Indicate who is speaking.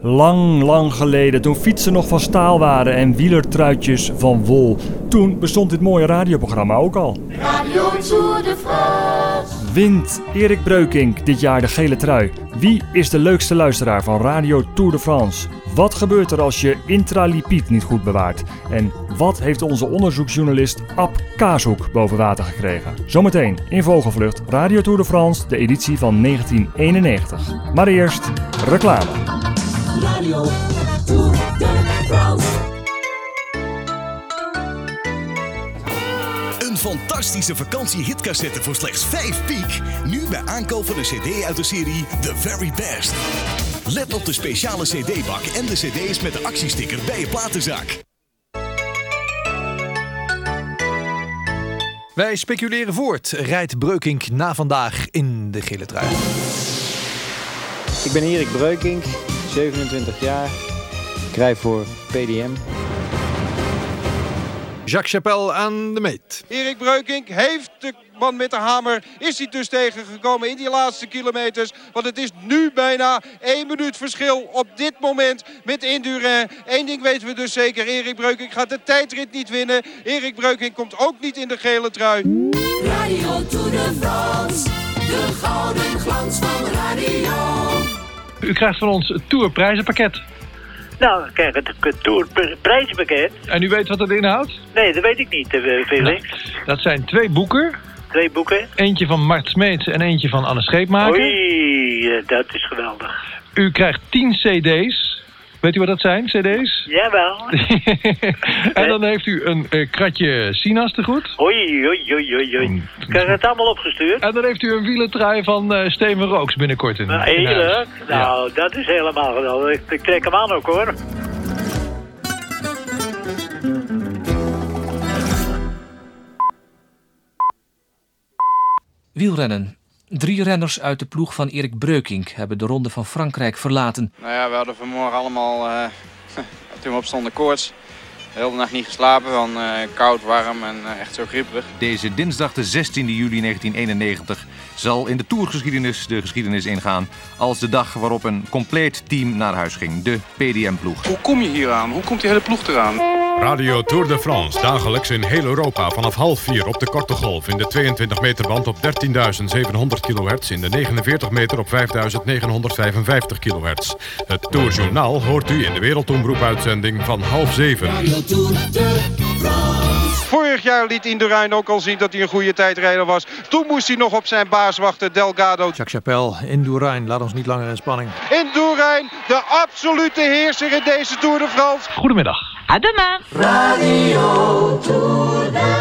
Speaker 1: Lang, lang geleden, toen fietsen nog van staal waren en wielertruitjes van wol. Toen bestond dit mooie radioprogramma ook al.
Speaker 2: Radio Tour de France.
Speaker 1: Wint Erik Breukink dit jaar de gele trui. Wie is de leukste luisteraar van Radio Tour de France? Wat gebeurt er als je intralipied niet goed bewaart? En wat heeft onze onderzoeksjournalist Ab Kaashoek boven water gekregen? Zometeen in Vogelvlucht Radio Tour de France, de editie van 1991. Maar eerst reclame.
Speaker 3: Radio Tour de France.
Speaker 4: Een fantastische vakantie-hitcassette voor slechts 5 piek. Nu bij aankoop van een CD uit de serie The Very Best. Let op de speciale CD-bak en de CD's met de actiesticker bij je platenzaak.
Speaker 5: Wij speculeren voort. Rijdt Breukink na vandaag in de gele trui.
Speaker 6: Ik ben Erik Breukink, 27 jaar. Ik rij voor PDM.
Speaker 5: Jacques Chapelle aan de meet.
Speaker 7: Erik Breukink heeft de man met de hamer. Is hij dus tegengekomen in die laatste kilometers. Want het is nu bijna één minuut verschil op dit moment met Indurain. Eén ding weten we dus zeker. Erik Breukink gaat de tijdrit niet winnen. Erik Breukink komt ook niet in de gele trui.
Speaker 3: Radio Tour de France. De gouden glans van radio.
Speaker 8: U krijgt van ons het tourprijzenpakket.
Speaker 9: Nou, kijk, het het tourprijspakket.
Speaker 8: En u weet wat dat inhoudt?
Speaker 9: Nee, dat weet ik niet, eh, Felix.
Speaker 8: Dat zijn twee boeken.
Speaker 9: Twee boeken.
Speaker 8: Eentje van Mart Smeets en eentje van Anne Scheepmaker.
Speaker 9: Oei, eh, dat is geweldig.
Speaker 8: U krijgt 10 cd's. Weet u wat dat zijn, cd's?
Speaker 9: Jawel.
Speaker 8: en dan heeft u een eh, kratje sinaas te goed.
Speaker 9: Oei, oei, oei, oei, oei. Krijg je het allemaal opgestuurd?
Speaker 8: En dan heeft u een wielentrui van eh Steven Rooks binnenkort in,
Speaker 9: Nou,
Speaker 8: in huis.
Speaker 9: Heerlijk. Nou, dat is helemaal geweldig. Ik- Ik trek hem aan ook, hoor.
Speaker 10: Wielrennen. Drie renners uit de ploeg van Erik Breukink hebben de Ronde van Frankrijk verlaten.
Speaker 11: Nou ja, we hadden vanmorgen allemaal, eh, toen we opstonden, koorts. De hele nacht niet geslapen, van eh, koud, warm en eh, echt zo grieperig.
Speaker 12: Deze dinsdag de 16 juli 1991 zal in de tourgeschiedenis de geschiedenis ingaan als de dag waarop een compleet team naar huis ging, de PDM-ploeg.
Speaker 13: Hoe kom je hier aan? Hoe komt die hele ploeg eraan? Radio Tour de France, dagelijks in heel Europa vanaf half vier op de korte golf. In de 22 meter band op 13.700 kilohertz. In de 49 meter op 5.955 kilohertz. Het Tourjournaal hoort u in de Wereldomroepuitzending van half zeven.
Speaker 7: Vorig jaar liet Indurain ook al zien dat hij een goede tijdrijder was. Toen moest hij nog op zijn baas wachten, Delgado.
Speaker 5: Jacques Chapelle, Indurain, laat ons niet langer in spanning.
Speaker 7: Indurain, de absolute heerser in deze Tour de France.
Speaker 8: Goedemiddag.
Speaker 3: À demain. Radio Tour de